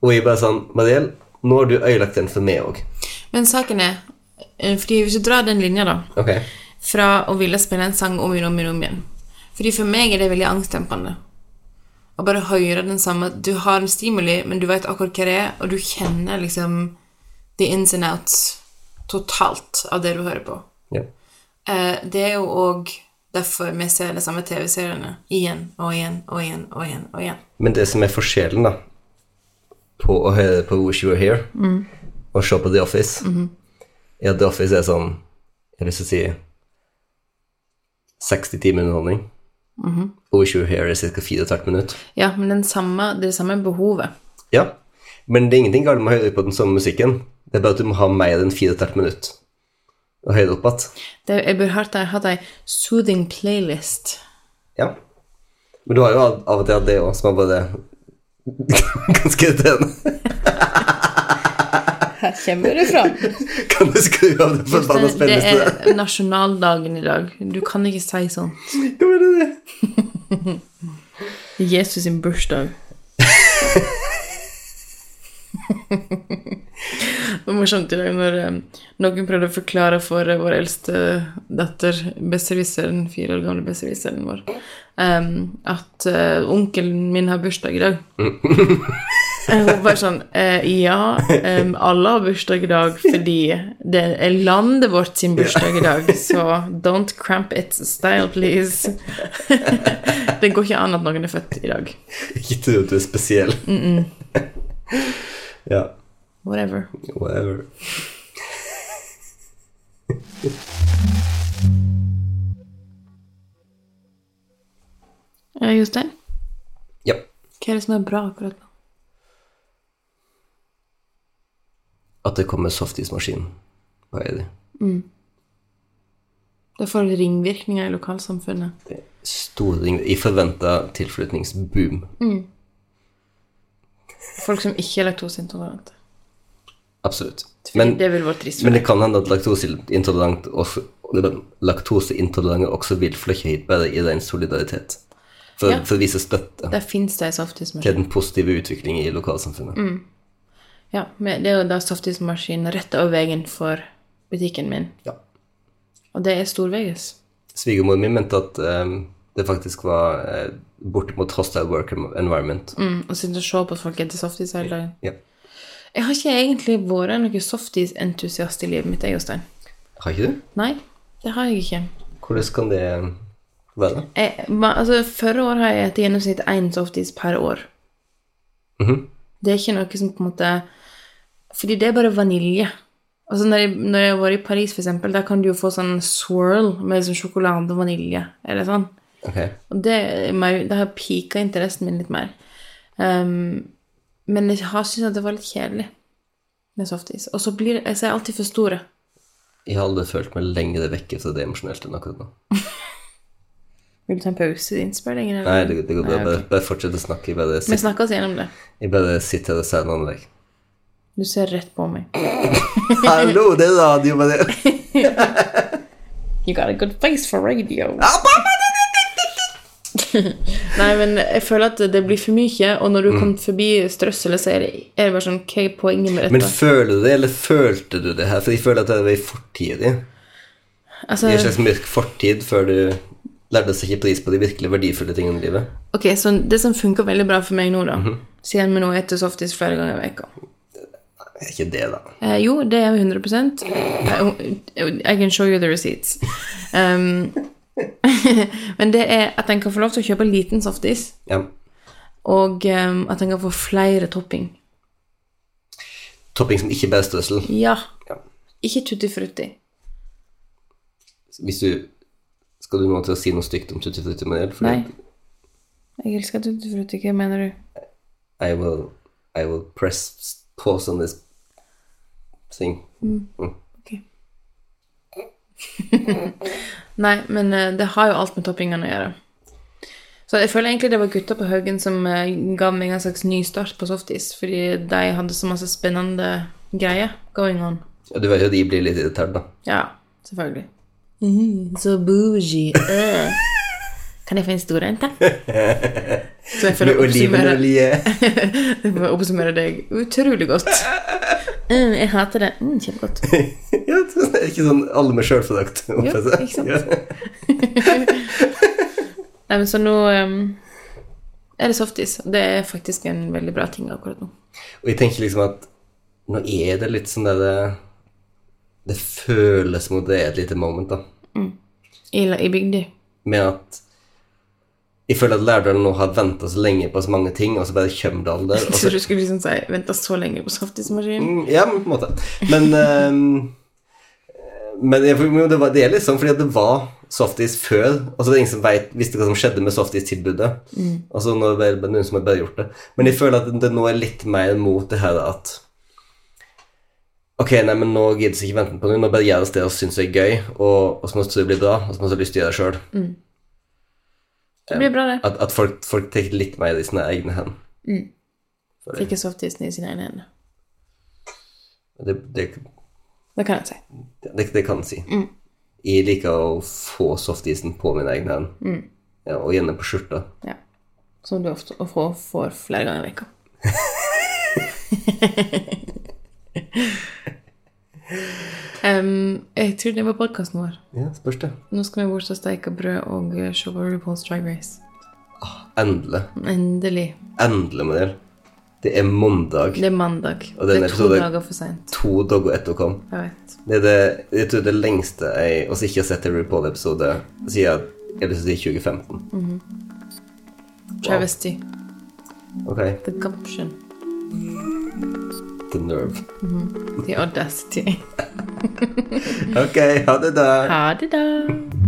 S2: Og jeg bare sånn Mariell, nå har du øyelagt den for meg òg.
S1: Men saken er eh, fordi Hvis du drar den linja, da
S2: Ok.
S1: fra å ville spille en sang om igjen og om igjen. og om igjen. Fordi for meg er det veldig angstdempende. Å bare høre den samme Du har en stimuli, men du vet akkurat hva det er, og du kjenner liksom the ins and outs totalt av det du hører på.
S2: Ja.
S1: Eh, det er jo òg derfor vi ser de samme TV-seriene igjen og igjen og igjen og igjen. og igjen.
S2: Men det som er forskjellen, da, på å høre på Wish You Were Here og se på The Office Ja, The Office er sånn Jeg har lyst til å si 60 timer underholdning. Og Wish You Were Here er ca. 4,5 minutter.
S1: Ja, men den samme, det er det samme behovet.
S2: Ja, men det er ingenting galt med å høre på den samme musikken. Det er bare at du må ha mer enn 4,5 minutter og høyde opp igjen.
S1: Det, jeg burde hatt ei- hatt ei soothing playlist.
S2: Ja. Men du har jo av og til hatt det òg, som er bare [LAUGHS] ganske irriterende.
S1: Her kommer du fra.
S2: Kan du skru av den forbanna
S1: Det
S2: spillelista?
S1: er nasjonaldagen i dag. Du kan ikke si sånn.
S2: Hva er det?
S1: [LAUGHS] Det er Jesus sin bursdag. Det var morsomt i dag når eh, noen prøvde å forklare for eh, vår eldste datter, besserwisseren, fire år gamle besserwisseren vår, em, at eh, onkelen min har bursdag i dag. Eh, Hun bare sånn eh, Ja, em, alle har bursdag i dag fordi det er landet vårt sin bursdag i dag, så don't cramp its style, please. [LAUGHS] Det går ikke an at noen er født i dag.
S2: Ikke tro at du er spesiell. [LAUGHS] ja,
S1: Whatever.
S2: whatever.
S1: Eh, Jostein,
S2: Ja.
S1: hva er det som er bra akkurat nå?
S2: At det kommer softismaskin på Heidi.
S1: Det får ringvirkninger i lokalsamfunnet.
S2: Store ring... I forventa tilflytningsboom.
S1: Folk som ikke er laktoseintolerante.
S2: Absolutt. Men,
S1: Det vil være trist.
S2: men det kan hende at laktoseintolerant også, laktoseintolerante også vil flytte hit bare i ren solidaritet. For,
S1: Ja.
S2: for å vise støtte
S1: Der fins det ei softismaskin.
S2: til den positive utviklingen i lokalsamfunnet.
S1: Mm. Ja, men det er jo da softismaskin rett over veien for butikken min.
S2: Ja.
S1: Og det er Storveges.
S2: Svigermoren min mente at eh, det faktisk var eh, bortimot hostile work environment.
S1: Mm, og sitte og se på at folk spiser softis hele dagen.
S2: Ja.
S1: Jeg har ikke egentlig vært noen softisentusiast i livet mitt, jeg, Jostein.
S2: Har ikke du?
S1: Nei, det har jeg ikke.
S2: Hvordan kan det være?
S1: Jeg, ma- altså, Forrige år har jeg et gjennomsnitt én softis per år. Det er ikke noe som på en måte Fordi det er bare vanilje. Altså Når jeg, når jeg har vært i Paris, for eksempel, der kan du jo få sånn swirl med liksom sjokolade og vanilje. Eller sånn.
S2: Ok.
S1: Og det, er meg- det har pika interessen min litt mer. Ehm, men jeg har syntes at det var litt kjedelig med softis. Og så blir jeg, så er jeg alltid for store.
S2: Jeg har aldri følt meg lengre vekk fra det emosjonelt enn akkurat nå.
S1: Vil du ta en pause i innspillingen? eller?
S2: Nei, det, det går bra.
S1: Nei, ok.
S2: Bare, bare fortsett å snakke. Jeg bare,
S1: Vi
S2: sit,
S1: snakker oss gjennom det.
S2: jeg bare sitter her og sier
S1: [LAUGHS]
S2: noen vekk.
S1: Du ser rett på meg.
S2: Hallo, det er radio, bare
S1: You got a good face for radio. Nei, men jeg føler at det blir for mye, og
S2: Mm.
S1: når du kommer forbi strøsselet, så er det, er det bare sånn Hva er poenget med
S2: Men
S1: dette?
S2: føler du det, eller følte du det her? For jeg føler at det var i fortid. i. I en
S1: altså,
S2: slags mørk fortid før du lærte å sette pris på de virkelig verdifulle tingene i livet.
S1: ok, så Det som funker veldig bra for meg nå, da
S2: Mhm.
S1: Siden vi nå spiser softis flere ganger i veka
S2: Er ikke det, da.
S1: eh, Jo, det er jo 100 I, eh, I can show you the receipts. Um, [LAUGHS] men det er at en kan få lov til å kjøpe liten softis,
S2: Ja.
S1: og um, at en kan få flere topping.
S2: Topping som ikke bærer strøssel.
S1: Ja.
S2: Ja.
S1: Ikke tutti frutti.
S2: Hvis du Skal du nå til å si noe stygt om Tutti Frutti Manuel? For
S1: Nei. Jeg elsker tutti frutti. Hva mener du?
S2: I will, I will press pause on this thing.
S1: Ok. Nei, men eh, det har jo alt med toppingene å gjøre. Så jeg føler egentlig det var gutta på Haugen som eh, ga meg en slags ny start på softis, fordi de hadde så masse spennende greier going on.
S2: Ja, du vet jo at de blir litt irritert, da.
S1: Ja, selvfølgelig. Mm, så [LAUGHS] bougie. øh. Kan jeg få en stor en, [LAUGHS] takk? Så jeg føler
S2: Med
S1: å oppsummere-
S2: olivenolje.
S1: jeg [LAUGHS] får oppsummere deg utrolig godt. Mm, jeg hater det. Mm, kjempegodt.
S2: [LAUGHS] ja, det er ikke sånn alle med sjølforakt.
S1: Jo, ikke sant. Nei, men så nå ehm, er det softis. Det er faktisk en veldig bra ting akkurat nå.
S2: Og jeg tenker liksom at nå er det litt sånn der det, det føles som om det er et lite moment, da.
S1: I, la- i bygda.
S2: Med at jeg føler at Lærdal nå har venta så lenge på så mange ting, og så bare kommer det alle der. Og så
S1: [LAUGHS] Så du skulle liksom si 'venta så lenge på softismaskinen'?
S2: Mm, Ja, men på en måte. Men, ehm, men jeg- men det, var, det er litt sånn fordi at det var softis før, og så var det ingen som vet, visste hva som skjedde med softis-tilbudet. Og så nå er det bare noen som har bare gjort det. Men jeg føler at det nå er litt mer mot det her at Ok, nei, men nå gidder jeg ikke vente på noe. Nå bare gjør jeg det stedet jeg syns er gøy, og, og så må det bli bra, og så må jeg ha lyst til å gjøre det sjøl.
S1: Det blir bra, det.
S2: At, at folk, folk tar litt mer i sine egne hender. Sorry.
S1: Ikke softisen i sine egne hender.
S2: Det, det,
S1: Det kan jeg si.
S2: det, det kan jeg si. Jeg liker å få softisen på mine egne hender, ja, og gjerne på skjorta.
S1: Ja. Som du ofte og får, får flere ganger i veka. Em, jeg tror det var podkasten vår.
S2: Ja, spørs det.
S1: Nå skal vi bort og steike brød og eh, se på RuPaul's Drag Race.
S2: Endelig.
S1: Endelig.
S2: Endelig må det gjøre. Det er mandag.
S1: Det er mandag.
S2: Og
S1: det
S2: denne
S1: er to
S2: episoden-
S1: dager for seint.
S2: To dager etter å komme.
S1: Jeg vet.
S2: Det er det, jeg tror det lengste jeg også ikke har sett en RuPaul-episode siden jeg vil si 2015.
S1: Travesty.
S2: Ok,
S1: The gumption.
S2: the nerve.
S1: The audacity.
S2: Ok, ha det da.
S1: Ha det, da.